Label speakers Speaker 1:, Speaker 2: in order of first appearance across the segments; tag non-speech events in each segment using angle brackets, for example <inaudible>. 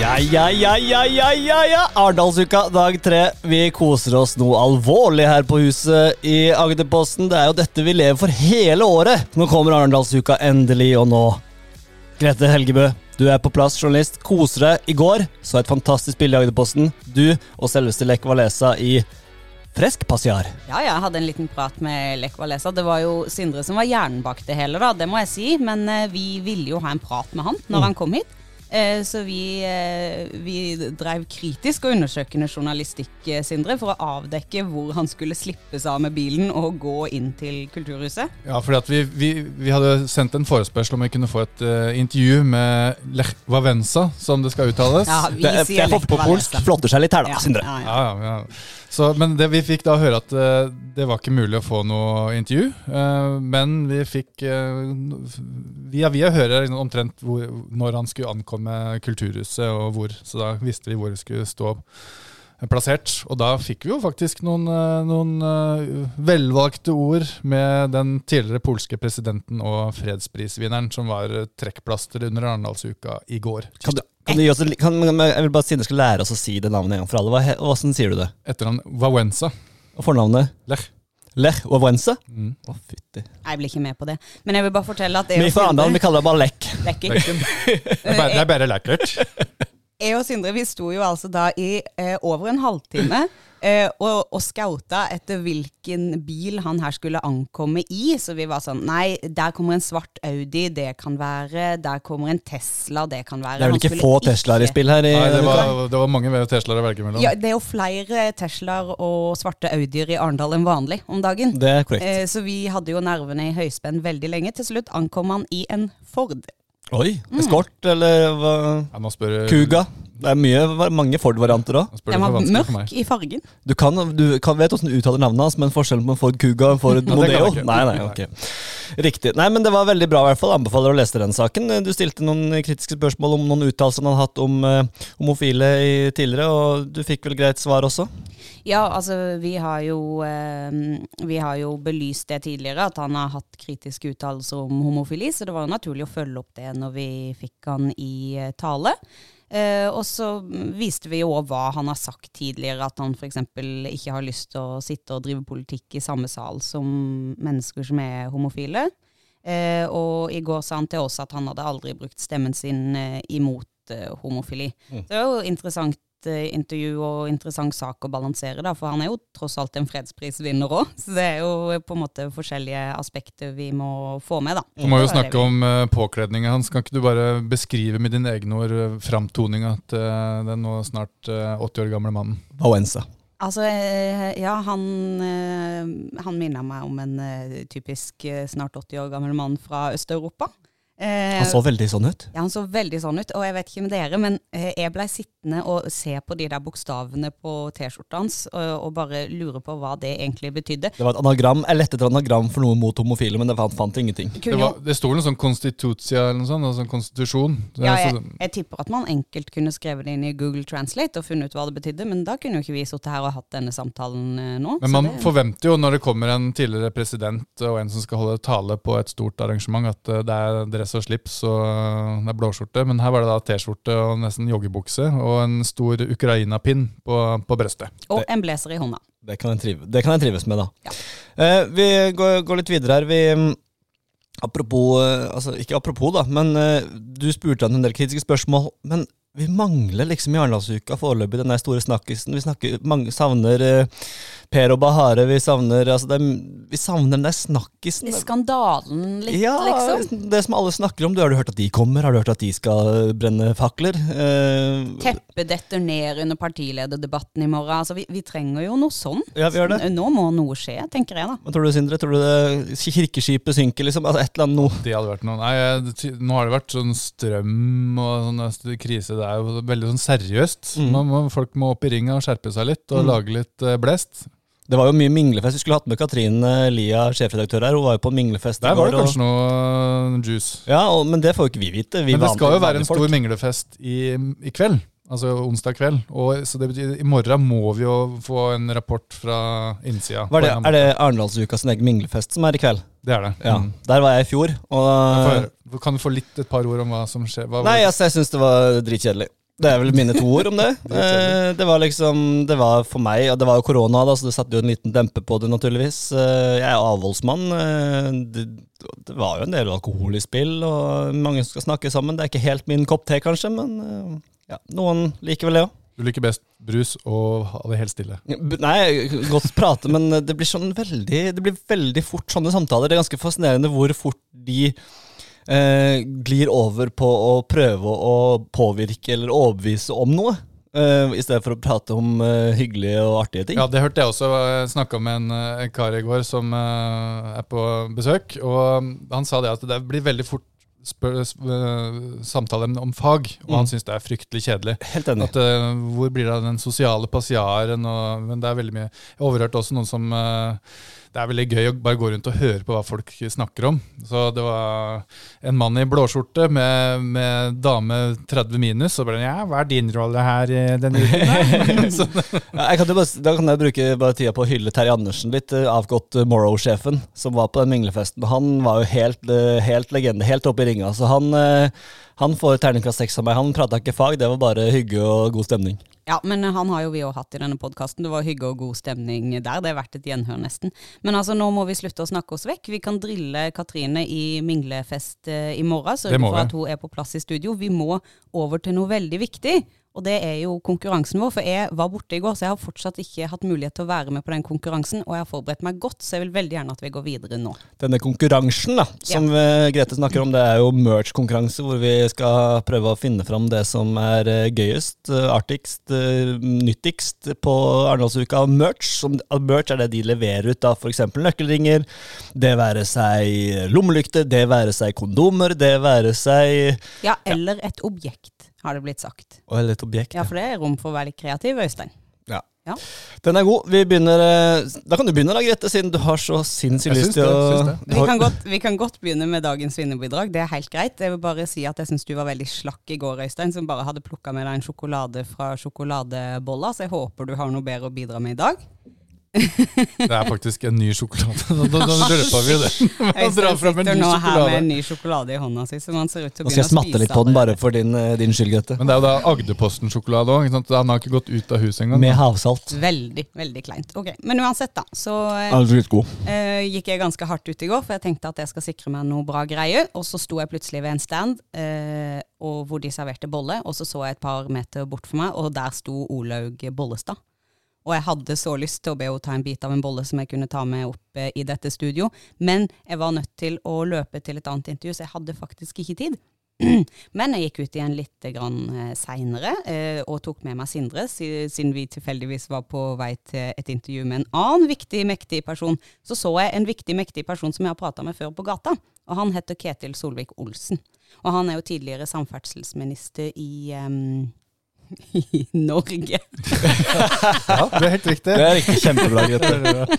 Speaker 1: Ja, ja, ja, ja, ja, ja, ja. Arendalsuka dag tre. Vi koser oss noe alvorlig her på huset i Agderposten. Det er jo dette vi lever for hele året. Nå kommer Arendalsuka endelig, og nå Grete Helgebø, du er på plass, journalist. Koser deg. I går så et fantastisk bilde i Agderposten. Du og selveste Lech Walesa i fresk passiar.
Speaker 2: Ja, jeg hadde en liten prat med Lech Walesa. Det var jo Sindre som var hjernen bak det hele, da. Det må jeg si. Men eh, vi ville jo ha en prat med han
Speaker 1: Mm.
Speaker 2: når han kom hit. Eh, Så vi, eh, vi drev kritisk og undersøkende journalistikk, eh, Sindre, for å avdekke hvor han skulle slippes av med bilen og gå inn til Kulturhuset.
Speaker 3: Ja, fordi at vi, vi, vi hadde sendt en forespørsel om vi kunne få et eh, intervju med Lech Wawenza, som det skal uttales.
Speaker 2: Ja, vi
Speaker 1: Det er-
Speaker 2: sier
Speaker 1: det er
Speaker 2: Lech
Speaker 1: på polsk.
Speaker 2: Walesa.
Speaker 1: Flotter seg litt her, da,
Speaker 2: Ja,
Speaker 1: Sindre.
Speaker 2: ja, ja.
Speaker 3: Ja, ja, ja. Så, men det, vi fikk da høre at eh, det var ikke mulig å få noe intervju. eh, men vi fikk eh, via via høre liksom omtrent hvor, når han skulle ankomme Kulturhuset og hvor. Så da visste vi hvor vi skulle stå plassert. Og da fikk vi jo faktisk noen, eh, noen eh, velvalgte ord med den tidligere polske presidenten og fredsprisvinneren, som var eh, trekkplaster under Arendalsuka i går.
Speaker 1: Kan du, kan du gi oss, en li- kan, jeg vil bare Sindre skal lære oss å si det navnet en gang for alle. Hva, he- hvordan sier du det?
Speaker 3: Etter han Wawenza.
Speaker 1: Og fornavnet?
Speaker 3: Lech.
Speaker 1: Lech Wawrense?
Speaker 3: Mm.
Speaker 1: Å, fytti.
Speaker 2: Jeg blir ikke med på det. Men jeg vil bare fortelle at jeg
Speaker 1: Vi
Speaker 2: og
Speaker 1: fra Arendal vi
Speaker 2: Sindre
Speaker 1: kaller det bare Lech.
Speaker 2: Lekker.
Speaker 3: Lechen. <laughs> Det er bare- det er bare
Speaker 2: <laughs>
Speaker 3: lekkert.
Speaker 2: Jeg og Sindre vi sto jo altså da i eh, over en halvtime <clears throat> eh, og, og skauta etter hvilken bil han her skulle ankomme i. Så vi var sånn Nei, der kommer en svart Audi, det kan være. Der kommer en Tesla, det kan være.
Speaker 1: Det er vel
Speaker 2: Han
Speaker 1: ikke
Speaker 2: skulle
Speaker 1: få Teslaer i spill her? I,
Speaker 3: Nei, det var, det var mange Teslaer å velge mellom.
Speaker 2: Ja, det er jo flere Teslaer og svarte Audier i Arendal enn vanlig om dagen.
Speaker 1: det er korrekt.
Speaker 2: Eh, så vi hadde jo nervene i høyspenn veldig lenge. Til slutt ankom han i en Ford.
Speaker 1: Oi, Eskort eller hva?
Speaker 3: Ja, nå spør
Speaker 1: Kuga? Det er mye, mange Ford-varianter òg.
Speaker 3: Nå spør du
Speaker 2: Den
Speaker 3: for
Speaker 2: var
Speaker 3: vanskelig for
Speaker 2: mørk
Speaker 3: meg.
Speaker 2: i fargen.
Speaker 1: Du, kan, du kan, vet åssen du uttaler navnet hans, men forskjellen på en Ford Kuga og en
Speaker 3: <laughs>
Speaker 1: Ford
Speaker 3: det kan jeg
Speaker 1: Mondeo
Speaker 3: ikke.
Speaker 1: Nei, nei, ok. Riktig. Nei, men det var veldig bra, i hvert fall. Anbefaler å lese den saken. Du stilte noen kritiske spørsmål om noen uttalelser han har hatt om eh, homofile i, tidligere, og du fikk vel greit svar også?
Speaker 2: Ja, altså vi har jo, eh, vi har jo belyst det tidligere, at han har hatt kritiske uttalelser om homofili, så det var jo naturlig å følge opp det når vi fikk han i eh, tale. Eh, og så viste vi jo også hva han har sagt tidligere, at han f.eks. ikke har lyst til å sitte og drive politikk i samme sal som mennesker som er homofile. Eh, og i går sa han til oss at han hadde aldri brukt stemmen sin eh, imot eh, homofili. Så det er jo interessant eh, intervju og interessant sak å balansere, da, for han er jo tross alt en fredsprisvinner òg. Så det er jo på en måte forskjellige aspekter vi må få med, da.
Speaker 3: Du må
Speaker 2: Det var
Speaker 3: jo
Speaker 2: det
Speaker 3: snakke om eh, påkledninga hans. Kan ikke du bare beskrive med dine egne ord eh, framtoninga til eh, den nå snart eh, 80 år gamle mannen?
Speaker 1: Valenza.
Speaker 2: Altså, eh, ja, han, eh, han minner meg om en eh, typisk eh, snart 80 år gammel mann fra Øst-Europa. Eh,
Speaker 1: Han så veldig sånn ut.
Speaker 2: Ja, han så veldig sånn ut, og jeg vet ikke med dere, men eh, jeg blei sittende og se på de der bokstavene på T-skjorta hans, og, og bare lure på hva det egentlig betydde.
Speaker 1: Det var et anagram. Jeg lette etter anagram for noe mot homofile, men det fant, fant ingenting.
Speaker 3: Det,
Speaker 2: Kunne jo,
Speaker 3: var, det sto noe sånn konstitutia eller noe sånt, altså en konstitusjon. Det er
Speaker 2: ja, jeg,
Speaker 3: så-
Speaker 2: jeg tipper at man enkelt kunne skrevet det inn i Google Translate og funnet ut hva det betydde, men da kunne jo ikke vi sittet her og hatt denne samtalen eh, nå.
Speaker 3: men
Speaker 2: så
Speaker 3: man
Speaker 2: det-
Speaker 3: forventer jo når det kommer en tidligere president og en som skal holde tale på et stort arrangement, at eh, det er dress og slips og eh, det er blåskjorte. Men her var det da T-skjorte og nesten joggebukse og en stor Ukraina-pinn på, på brøstet.
Speaker 2: og en blazer i hånda.
Speaker 1: Det kan jeg, trive, det kan jeg trives med, da.
Speaker 2: Ja.
Speaker 1: Eh, vi går, går litt videre her. Vi, mm, apropos eh, Altså, ikke apropos, da, men eh, du spurte han en del kritiske spørsmål. Men vi mangler liksom i Arendalsuka foreløpig den der store snakkisen. Vi snakker, mange, savner eh, Per og Bahare. Vi savner altså, det er- Vi savner den der snakkisen.
Speaker 2: Skandalen litt,
Speaker 1: ja,
Speaker 2: liksom.
Speaker 1: det som alle snakker om. Du, har du hørt at de kommer? Har du hørt at de skal eh, brenne fakler? Eh,
Speaker 2: Teppet detter ned under partilederdebatten i morgen. Altså, vi, vi trenger jo noe sånn.
Speaker 1: ja, vi gjør det.
Speaker 2: Nå må noe skje, tenker jeg da.
Speaker 1: Hva tror du, Sindre? Tror du det kirkeskipet synker, liksom? Altså, et eller annet noe.
Speaker 3: Det hadde vært noe. Nei, jeg- ty- nå har det vært sånn strøm og sånn st- krise. Det er jo veldig sånn seriøst.
Speaker 1: Mm.
Speaker 3: Man må, folk må opp i ringa og skjerpe seg litt og
Speaker 1: Mm.
Speaker 3: lage litt eh, blest.
Speaker 1: Det var jo mye minglefest. Vi skulle hatt med Katrin eh, Lia, sjefredaktør her. Hun var jo på en minglefest i
Speaker 3: Der var
Speaker 1: går,
Speaker 3: det
Speaker 1: og-
Speaker 3: kanskje noe eh, juice.
Speaker 1: Ja, og, men det får jo ikke vi vite. Vi
Speaker 3: Men det
Speaker 1: vanlige-
Speaker 3: skal jo være en
Speaker 1: vanlige folk.
Speaker 3: stor minglefest i, i kveld. Altså onsdag kveld. Og, så det betyr, i morgen må vi jo få en rapport fra innsida.
Speaker 1: Hva er
Speaker 3: På en
Speaker 1: det, er det Arendalsuka sin egen minglefest som er i kveld?
Speaker 3: måte. det er det.
Speaker 1: Ja. Eh,
Speaker 3: Mm.
Speaker 1: Der var jeg i fjor, og
Speaker 3: Får jeg- kan du få litt et par ord om hva som skjer? Hva,
Speaker 1: Nei, altså, jeg syns det var dritkjedelig. Det er vel mine to ord om det. Eh, det var liksom, det var for meg, og det var jo korona, da, så det satte jo en liten dempe på det, naturligvis. Eh, jeg er avholdsmann. Eh, det, det var jo en del alkohol i spill, og mange skal snakke sammen. Det er ikke helt min kopp te, kanskje, men eh, ja, noen liker vel det òg.
Speaker 3: Du liker best brus og ha det helt stille.
Speaker 1: Nei, godt prate, men det blir sånn veldig Det blir veldig fort sånne samtaler. Det er ganske fascinerende hvor fort de eh, glir over på å prøve å påvirke eller overbevise om noe. Eh, I stedet for å prate om eh, hyggelige og artige ting.
Speaker 3: Ja, det hørte jeg også. Jeg snakka med en, eh, en kar i går som eh, er på besøk, og um, han sa det at det blir veldig fort spør, sp- eh, samtaler om fag, og
Speaker 1: Mm.
Speaker 3: han syns det er fryktelig kjedelig.
Speaker 1: Helt enig.
Speaker 3: At, eh, hvor blir det av den sosiale passiaren? Og, men det er veldig mye. Jeg overhørte også noen som eh, Det er veldig gøy å bare gå rundt og høre på hva folk snakker om. Så det var en mann i blåskjorte med, med dame 30 minus, og bare Ja, hva er din rolle her i denne uken? Så
Speaker 1: Ja, jeg kan jo bare, da kan jeg bruke bare tida på å hylle Terje Andersen litt, eh, avgått eh, Morrow-sjefen, som var på den minglefesten. Han var jo helt, eh, helt legende, helt oppe i ringa. Så han, eh, han får terningkast seks av meg. Han prata ikke fag, det var bare hygge og god stemning.
Speaker 2: Ja, men han har jo vi òg hatt i denne podkasten. Det var hygge og god stemning der. Det har vært et gjenhør, nesten. Men altså, nå må vi slutte å snakke oss vekk. Vi kan drille Katrine i minglefest eh, i morgen. Sørge
Speaker 3: Det må
Speaker 2: for
Speaker 3: vi.
Speaker 2: at hun er på plass i studio. Vi må over til noe veldig viktig. Og det er jo konkurransen vår, for jeg var borte i går, så jeg har fortsatt ikke hatt mulighet til å være med på den konkurransen. Og jeg har forberedt meg godt, så jeg vil veldig gjerne at vi går videre nå.
Speaker 1: Denne konkurransen da, som eh, Grete snakker om, det er jo merch-konkurranse, hvor vi skal prøve å finne fram det som er eh, gøyest, eh, artigst, eh, nyttigst på Arendalsuka. Merch som, eh, merch er det de leverer ut av f.eks. nøkkelringer, det være seg lommelykter, det være seg kondomer, det være seg
Speaker 2: Ja, eller et objekt, har det blitt sagt.
Speaker 1: Og eller et objekt.
Speaker 2: Ja, for det er rom for å være litt kreativ, Øystein.
Speaker 1: Ja.
Speaker 2: Ja.
Speaker 1: Den er god. Vi begynner eh, Da kan du begynne da, Grete, siden du har så sinnssykt
Speaker 3: Jeg
Speaker 1: lyst
Speaker 3: syns
Speaker 1: til
Speaker 3: det,
Speaker 1: å
Speaker 3: syns det.
Speaker 1: Du
Speaker 2: Vi
Speaker 1: har-
Speaker 2: kan, godt, vi kan godt begynne med dagens vinnerbidrag. Det er helt greit. Jeg vil bare si at jeg syns du var veldig slakk i går, Øystein, som bare hadde plukka med deg en sjokolade fra sjokoladebolla, så jeg håper du har noe bedre å bidra med i
Speaker 1: <laughs>
Speaker 2: dag.
Speaker 3: det er faktisk en ny sjokolade. Da, da, da drøper vi det. Man
Speaker 2: Øystein
Speaker 3: drar fram en
Speaker 2: sitter
Speaker 3: ny
Speaker 2: nå her med en
Speaker 3: sjokolade.
Speaker 2: ny sjokolade i hånda si, som han ser ut til å
Speaker 1: Nå skal
Speaker 2: begynne
Speaker 1: jeg
Speaker 2: å
Speaker 1: smatte
Speaker 2: spise.
Speaker 1: litt på den,
Speaker 2: allerede.
Speaker 1: bare for din, eh, din skyld, Grete.
Speaker 3: Men det er jo da Agderposten-sjokolade òg. Han har ikke gått ut av huset engang.
Speaker 1: Med havsalt.
Speaker 2: Veldig, veldig kleint. Ok, Men uansett, da. Så eh,
Speaker 1: god.
Speaker 2: eh, gikk jeg ganske hardt ut i går, for jeg tenkte at jeg skal sikre meg noe bra greie. Og så sto jeg plutselig ved en stand eh, og hvor de serverte bolle, og så så jeg et par meter bort for meg, og der sto Olaug Bollestad. Og jeg hadde så lyst til å be henne ta en bit av en bolle som jeg kunne ta med opp eh, i dette studio, men jeg var nødt til å løpe til et annet intervju, så jeg hadde faktisk ikke tid. <clears throat> Men jeg gikk ut igjen litt grann seinere og tok med meg Sindre, si- siden vi tilfeldigvis var på vei til et intervju med en annen viktig, mektig person. Så så jeg en viktig, mektig person som jeg har prata med før på gata, og han heter Ketil Solvik-Olsen. Og han er jo tidligere samferdselsminister i em, <laughs> i Norge.
Speaker 3: Ja, det er helt riktig.
Speaker 1: Det er riktig kjempebra, Grete.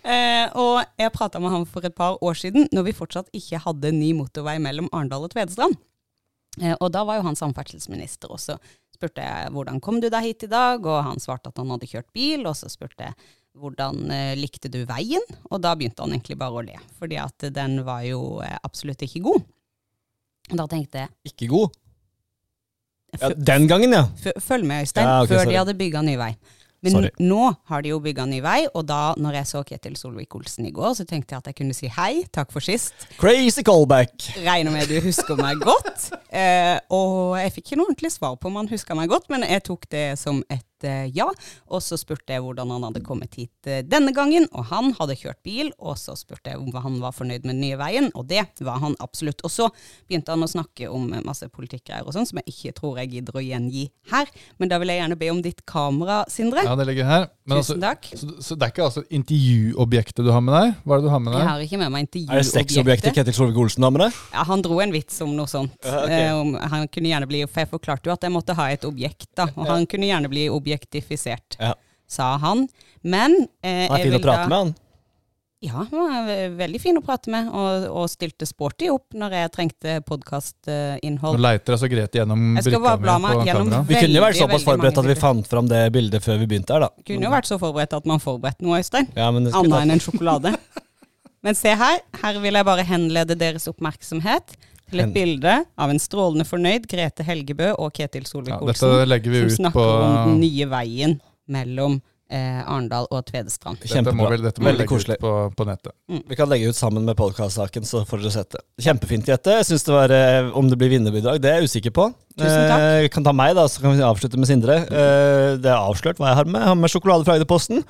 Speaker 2: Eh, og jeg prata med han for et par år siden, når vi fortsatt ikke hadde ny motorvei mellom Arendal og Tvedestrand. Eh, og da var jo han samferdselsminister, og så spurte jeg hvordan kom du deg hit i dag, og han svarte at han hadde kjørt bil, og så spurte jeg hvordan eh, likte du veien, og da begynte han egentlig bare å le, fordi at den var jo eh, absolutt ikke god. Og da tenkte jeg,
Speaker 1: Ikke god. Ja,
Speaker 2: fø-
Speaker 1: den gangen, ja.
Speaker 2: Fø- Følg med, Øystein,
Speaker 1: Ja, ok,
Speaker 2: før
Speaker 1: sorry.
Speaker 2: de hadde bygga ny vei. Men
Speaker 1: Sorry.
Speaker 2: nå har de jo bygga ny vei, og da når jeg så Ketil Solvik-Olsen i går, så tenkte jeg at jeg kunne si hei, takk for sist.
Speaker 1: Crazy callback.
Speaker 2: Regner med du husker meg godt. Eh, og jeg fikk ikke noe ordentlig svar på om han huska meg godt, men jeg tok det som et eh, ja. Og så spurte jeg hvordan han hadde kommet hit eh, denne gangen, og han hadde kjørt bil. Og så spurte jeg om han var fornøyd med den nye veien, og det var han absolutt. Og så begynte han å snakke om eh, masse politikkgreier og sånn, som jeg ikke tror jeg gidder å gjengi her. Men da vil jeg gjerne be om ditt kamera, Sindre.
Speaker 3: Ja, det ligger her. Men altså,
Speaker 2: Tusen takk.
Speaker 3: så, så det er ikke altså intervjuobjektet du har med deg? Hva er det du har med
Speaker 2: Jeg
Speaker 3: deg?
Speaker 2: har ikke med meg
Speaker 1: Er det sexobjektet
Speaker 2: intervjuobjektet.
Speaker 1: Ketil Solvik-Olsen har med deg?
Speaker 2: Ja, han dro en vits om noe sånt.
Speaker 1: Ja, ok.
Speaker 2: eh, om, han kunne gjerne bli, For jeg forklarte jo at jeg måtte ha et objekt, da. Og han kunne gjerne bli objektifisert,
Speaker 1: Ja.
Speaker 2: sa han. Men eh,
Speaker 1: Han er fin å prate med, han.
Speaker 2: Ja, han er ve- veldig fin å prate med, og, og stilte sporty opp når jeg trengte
Speaker 3: Nå
Speaker 2: podkastinnhold.
Speaker 3: leiter altså Grete gjennom
Speaker 2: Jeg skal
Speaker 3: brikka
Speaker 2: bare bla
Speaker 3: mi
Speaker 2: meg
Speaker 3: på
Speaker 2: gjennom <laughs>
Speaker 3: kamera.
Speaker 1: Vi kunne jo vært
Speaker 2: veldig,
Speaker 1: såpass
Speaker 2: veldig mange
Speaker 1: forberedt at vi
Speaker 2: bilder.
Speaker 1: fant fram det bildet før vi begynte her, da.
Speaker 2: Kunne jo vært så forberedt at man forberedte noe, Øystein.
Speaker 1: Ja, men det skal vi
Speaker 2: Annet
Speaker 1: ta. <laughs>
Speaker 2: enn en sjokolade. Men se her, her vil jeg bare henlede deres oppmerksomhet til et bilde av en strålende fornøyd Grete Helgebø og Ketil
Speaker 3: Ja,
Speaker 2: Solvik-Olsen,
Speaker 3: dette legger vi
Speaker 2: som
Speaker 3: ut på
Speaker 2: snakker om den nye veien mellom eh, Arendal og Tvedestrand.
Speaker 3: Dette må
Speaker 1: Kjempebra.
Speaker 3: vi, dette må vi
Speaker 1: Veldig
Speaker 3: legge
Speaker 1: koselig.
Speaker 3: ut på, på nettet.
Speaker 1: Vi kan legge ut sammen med podkastsaken, så får dere sett det. Kjempefint, Jette. Jeg synes det var, eh, Om det blir vinnerbidrag, det er jeg usikker på.
Speaker 2: Tusen takk. Mm.
Speaker 1: Eh, kan ta meg, da, så kan vi avslutte med Sindre. Eh, det er avslørt hva jeg har med. Jeg har med sjokolade fra Agderposten.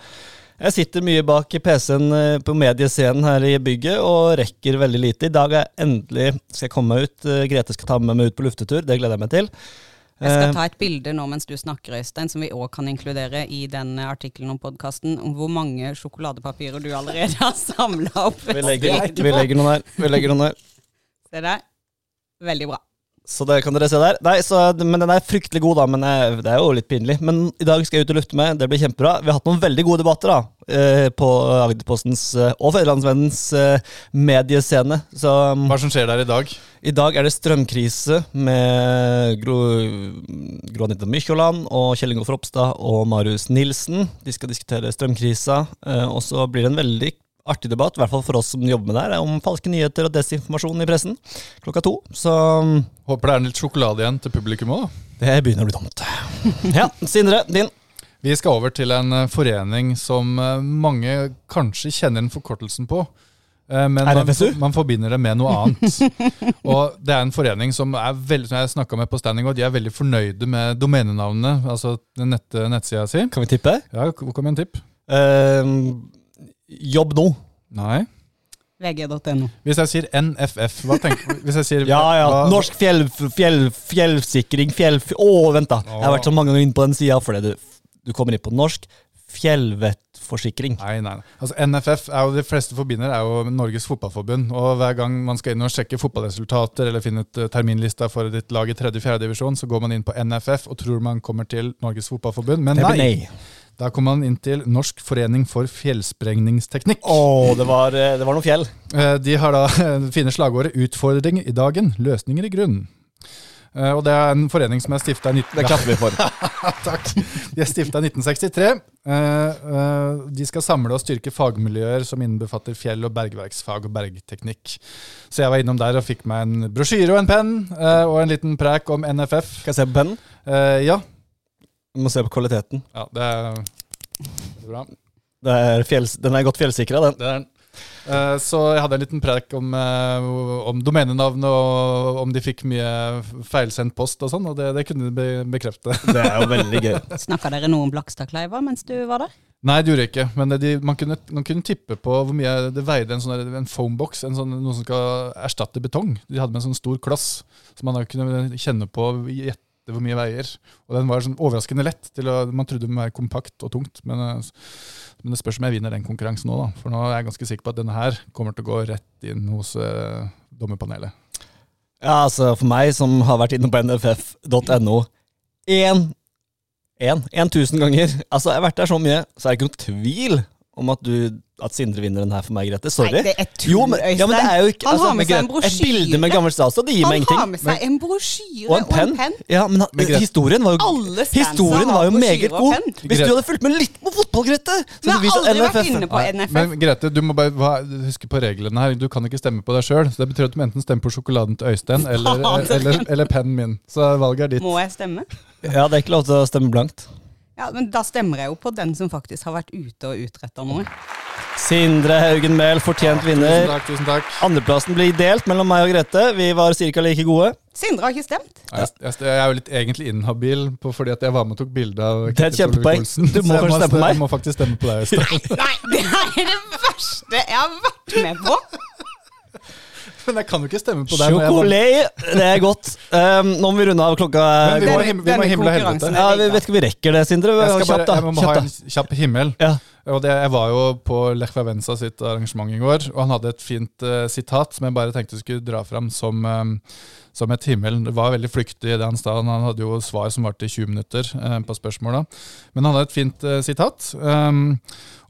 Speaker 1: Jeg sitter mye bak i PC-en eh, på mediescenen her i bygget og rekker veldig lite. I dag er jeg endelig skal jeg komme meg ut. Eh, Grete skal ta med meg ut på luftetur, det gleder jeg meg til.
Speaker 2: Jeg
Speaker 1: Eh,
Speaker 2: skal ta et bilde nå mens du snakker, Øystein, som vi òg kan inkludere i den artikkelen om podkasten, om hvor mange sjokoladepapirer du allerede har samla opp.
Speaker 1: vi, legger, vi legger noen her. Vi legger noen her.
Speaker 2: Se der. Veldig bra.
Speaker 1: Så det kan dere se der. Nei, så, men Den er fryktelig god, da. Men eh, det er jo litt pinlig. Men i dag skal jeg ut og lufte med. Det blir kjempebra. Vi har hatt noen veldig gode debatter da, eh, på Agderpostens eh, og Fedrelandsvennens eh, mediescene. Så um,
Speaker 3: Hva er det som skjer der i dag?
Speaker 1: i dag er det strømkrise med Gro, Gro Anita Mykjåland og Kjell Ingolf Ropstad og Marius Nilsen. De skal diskutere strømkrisa. eh, og så blir det en veldig artig debatt, i hvert fall for oss som jobber med det her, om falske nyheter og desinformasjon i pressen klokka to. Så um,
Speaker 3: Håper det er litt sjokolade igjen til publikum òg, da.
Speaker 1: det begynner å bli tomt. Ja, Sindre, din.
Speaker 3: Vi skal over til en eh, forening som eh, mange kanskje kjenner den forkortelsen på. eh, Men man,
Speaker 1: RFSU?
Speaker 3: man forbinder det med noe annet.
Speaker 1: <laughs>
Speaker 3: og Det er en forening som er veldig, som jeg snakket med på Standing, og de er veldig fornøyde med domenenavnet. Altså den nett, nettsida si.
Speaker 1: Kan vi tippe? Ehm,
Speaker 3: Ja, hvor kom en tipp?
Speaker 1: jobb nå.
Speaker 3: Nei.
Speaker 2: VG.no.
Speaker 3: Hvis jeg sier NFF, hva tenker Hvis jeg
Speaker 1: <laughs>
Speaker 3: sier
Speaker 1: Ja, ja.
Speaker 3: hva-
Speaker 1: Norsk fjell, fjell, fjellsikring fjell... Å, vent, da. Jeg har vært så mange ganger inne på den sida fordi du, du kommer inn på norsk fjellvettforsikring.
Speaker 3: Nei, nei. nei. Altså, NFF er jo de fleste forbinder er jo Norges fotballforbund. og Hver gang man skal inn og sjekke fotballresultater eller finne ut eh, terminlista for ditt lag i 3.-4. divisjon, så går man inn på NFF og tror man kommer til Norges fotballforbund, men
Speaker 1: Det
Speaker 3: nei.
Speaker 1: blir nei.
Speaker 3: Da kommer man inn til Norsk forening for fjellsprengningsteknikk.
Speaker 1: Å, det var, eh, det var noe fjell.
Speaker 3: Eh, De har da det fine slagordet 'Utfordring i dagen, løsninger i grunnen'. Eh, Og Det er en forening som er stifta i 19...
Speaker 1: klapper vi for.
Speaker 3: Takk. De er stifta i 1963. Eh, eh, De skal samle og styrke fagmiljøer som innbefatter fjell- og bergverksfag og bergteknikk. Så jeg var innom der og fikk meg en brosjyre og en penn eh, og en liten prek om NFF.
Speaker 1: Skal jeg se på pennen?
Speaker 3: Eh, Ja,
Speaker 1: Vi Må se på kvaliteten.
Speaker 3: ja det er det er bra.
Speaker 1: Det er fjells, den er godt fjellsikra, den.
Speaker 3: Det er den. Eh, Så jeg hadde en liten prek om, eh, om domenenavnet og om de fikk mye feilsendt post og sånn, og det, det kunne de be- bekrefte.
Speaker 1: Det er jo veldig gøy.
Speaker 2: Snakka dere noe om Blakstadkleiva mens du var der?
Speaker 3: Nei, det gjorde jeg ikke. Men det de, man, kunne, man kunne tippe på hvor mye det veide en sånn der- en foambox, en sånn, noe som skal erstatte betong. De hadde med en sånn stor kloss som man da kunne kjenne på, gjette hvor mye veier. Og den var sånn overraskende lett. Til å, man trodde den var kompakt og tungt, men, eh, men det spørs om jeg vinner den konkurransen nå, da. For nå er jeg ganske sikker på at denne her kommer til å gå rett inn hos eh, dommerpanelet.
Speaker 1: Ja, altså for meg som har vært inne på nff.no en, en, en tusen ganger Altså, jeg har vært der så mye, så er det ikke noen tvil om at, du, at Sindre vinner den her for meg, Grete. Sorry.
Speaker 2: Nei, det er tull,
Speaker 1: jo, men, ja, men det er jo ikke
Speaker 2: Han
Speaker 1: altså,
Speaker 2: har med seg en
Speaker 1: Grete, Et
Speaker 2: brosjyre.
Speaker 1: bilde med gammel statsråd, det gir meg
Speaker 2: Han har
Speaker 1: ingenting.
Speaker 2: med seg en brosjyre
Speaker 1: Og en penn. Ja, men
Speaker 3: Men Grete-
Speaker 1: historien var jo
Speaker 2: Alle stands
Speaker 1: Historien
Speaker 2: har
Speaker 1: var jo
Speaker 2: brosjyre
Speaker 1: meget
Speaker 2: og
Speaker 1: god.
Speaker 2: penn.
Speaker 1: Hvis du hadde fulgt med litt på fotball, Grete så
Speaker 2: Vi
Speaker 1: hadde du
Speaker 2: har
Speaker 1: visst
Speaker 2: aldri vært
Speaker 1: NFF.
Speaker 2: inne på NFF.
Speaker 3: Men Grete, du må bare hva, huske på reglene her. Du kan ikke stemme på deg sjøl. Så det betyr at du må enten stemme på sjokoladen til Øystein eller,
Speaker 2: Fader.
Speaker 3: eller, eller pennen min. Så valget er ditt.
Speaker 2: Må jeg stemme?
Speaker 1: Ja, det er ikke lov til å stemme blankt.
Speaker 2: Ja, men da stemmer jeg jo på den som faktisk har vært ute og utretta noe.
Speaker 1: Sindre Haugen Mehl, fortjent
Speaker 3: Tusen
Speaker 1: vinner.
Speaker 3: takk, tusen takk.
Speaker 1: Andreplassen blir delt mellom meg og Grete. Vi var ca. like gode.
Speaker 2: Sindre har ikke stemt.
Speaker 3: Jeg, jeg, jeg er jo litt egentlig inhabil på, fordi at jeg var med og tok bilde av
Speaker 1: Det er et kjempepoeng.
Speaker 3: <laughs> Solvik-Olsen.
Speaker 1: Du må
Speaker 3: Så jeg
Speaker 1: faktisk stemme på meg.
Speaker 3: Jeg må faktisk stemme på deg,
Speaker 1: <laughs>
Speaker 3: Øystein.
Speaker 2: Nei, <laughs> det er det verste jeg har vært med på!
Speaker 3: Men jeg kan jo ikke stemme på deg. når jeg var-
Speaker 1: Sjokolade! Det er godt. Um, nå må vi runde av. Klokka
Speaker 3: Men
Speaker 1: er
Speaker 3: vi må,
Speaker 2: Denne-
Speaker 3: him vi må
Speaker 2: denne
Speaker 3: himle helvete.
Speaker 2: konkurransen er-
Speaker 1: ja, Vi vet ikke om vi rekker det, Sindre.
Speaker 3: sånn. Jeg, skal
Speaker 1: Kjapt,
Speaker 3: bare,
Speaker 1: da.
Speaker 3: jeg må ha en
Speaker 1: Kjapt, da.
Speaker 3: kjapp himmel.
Speaker 1: Ja.
Speaker 3: Og det, jeg var jo på Lech Wawenza sitt arrangement i går, og han hadde et fint eh, sitat som jeg bare tenkte skulle dra fram som, eh, som et himmel. Det var veldig flyktig det han sa, han hadde jo svar som varte i 20 minutter eh, på spørsmåla. Men han hadde et fint eh, sitat eh,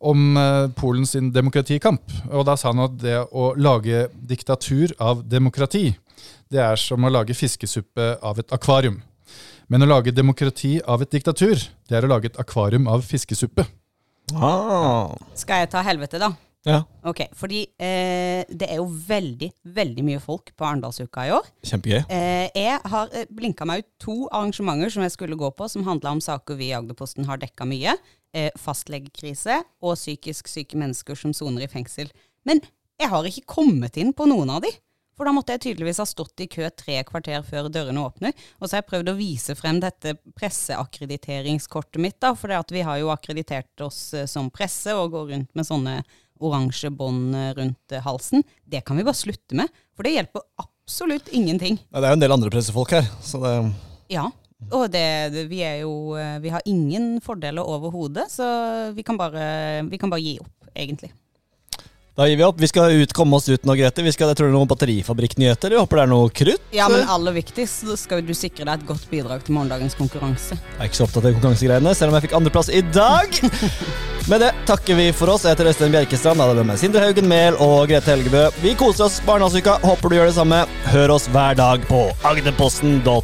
Speaker 3: om eh, Polen sin demokratikamp. Og da sa han at det å lage diktatur av demokrati, det er som å lage fiskesuppe av et akvarium. Men å lage demokrati av et diktatur, det er å lage et akvarium av fiskesuppe.
Speaker 1: Ah.
Speaker 2: Skal jeg ta helvete, da?
Speaker 1: Ja.
Speaker 2: Ok, fordi eh, det er jo veldig, veldig mye folk på Arendalsuka i år.
Speaker 1: Kjempegøy.
Speaker 2: Eh, jeg har eh, blinka meg ut to arrangementer som jeg skulle gå på, som handla om saker vi i Agderposten har dekka mye. Eh, fastlegekrise og psykisk syke mennesker som soner i fengsel. Men jeg har ikke kommet inn på noen av de. For da måtte jeg tydeligvis ha stått i kø tre kvarter før dørene åpner. Og så har jeg prøvd å vise frem dette presseakkrediteringskortet mitt, da. For det at vi har jo akkreditert oss eh, som presse og går rundt med sånne oransje bånd eh, rundt eh, halsen. Det kan vi bare slutte med. For det hjelper absolutt ingenting.
Speaker 1: Ja, det er jo en del andre pressefolk her, så det
Speaker 2: Ja, og det, det, vi er jo eh, Vi har ingen fordeler overhodet, så vi kan, bare, vi kan bare gi opp, egentlig.
Speaker 1: Da gir vi opp. Vi skal ut, komme oss ut nå, Grete. Vi skal, jeg tror det er noen batterifabrikknyheter. Jeg håper det er noe krutt.
Speaker 2: Ja, men aller viktigst så skal du sikre deg et godt bidrag til morgendagens konkurranse.
Speaker 1: Jeg er ikke så opptatt av konkurransegreiene, selv om jeg fikk andreplass i dag. Med det takker vi for oss. Jeg heter Øystein Bjerkestrand. Da er det med Sindre Haugen Mehl og Grete Helgebø. Vi koser oss på Arendalsuka. eh, Håper du gjør det samme. Hør oss hver dag på agderposten.no.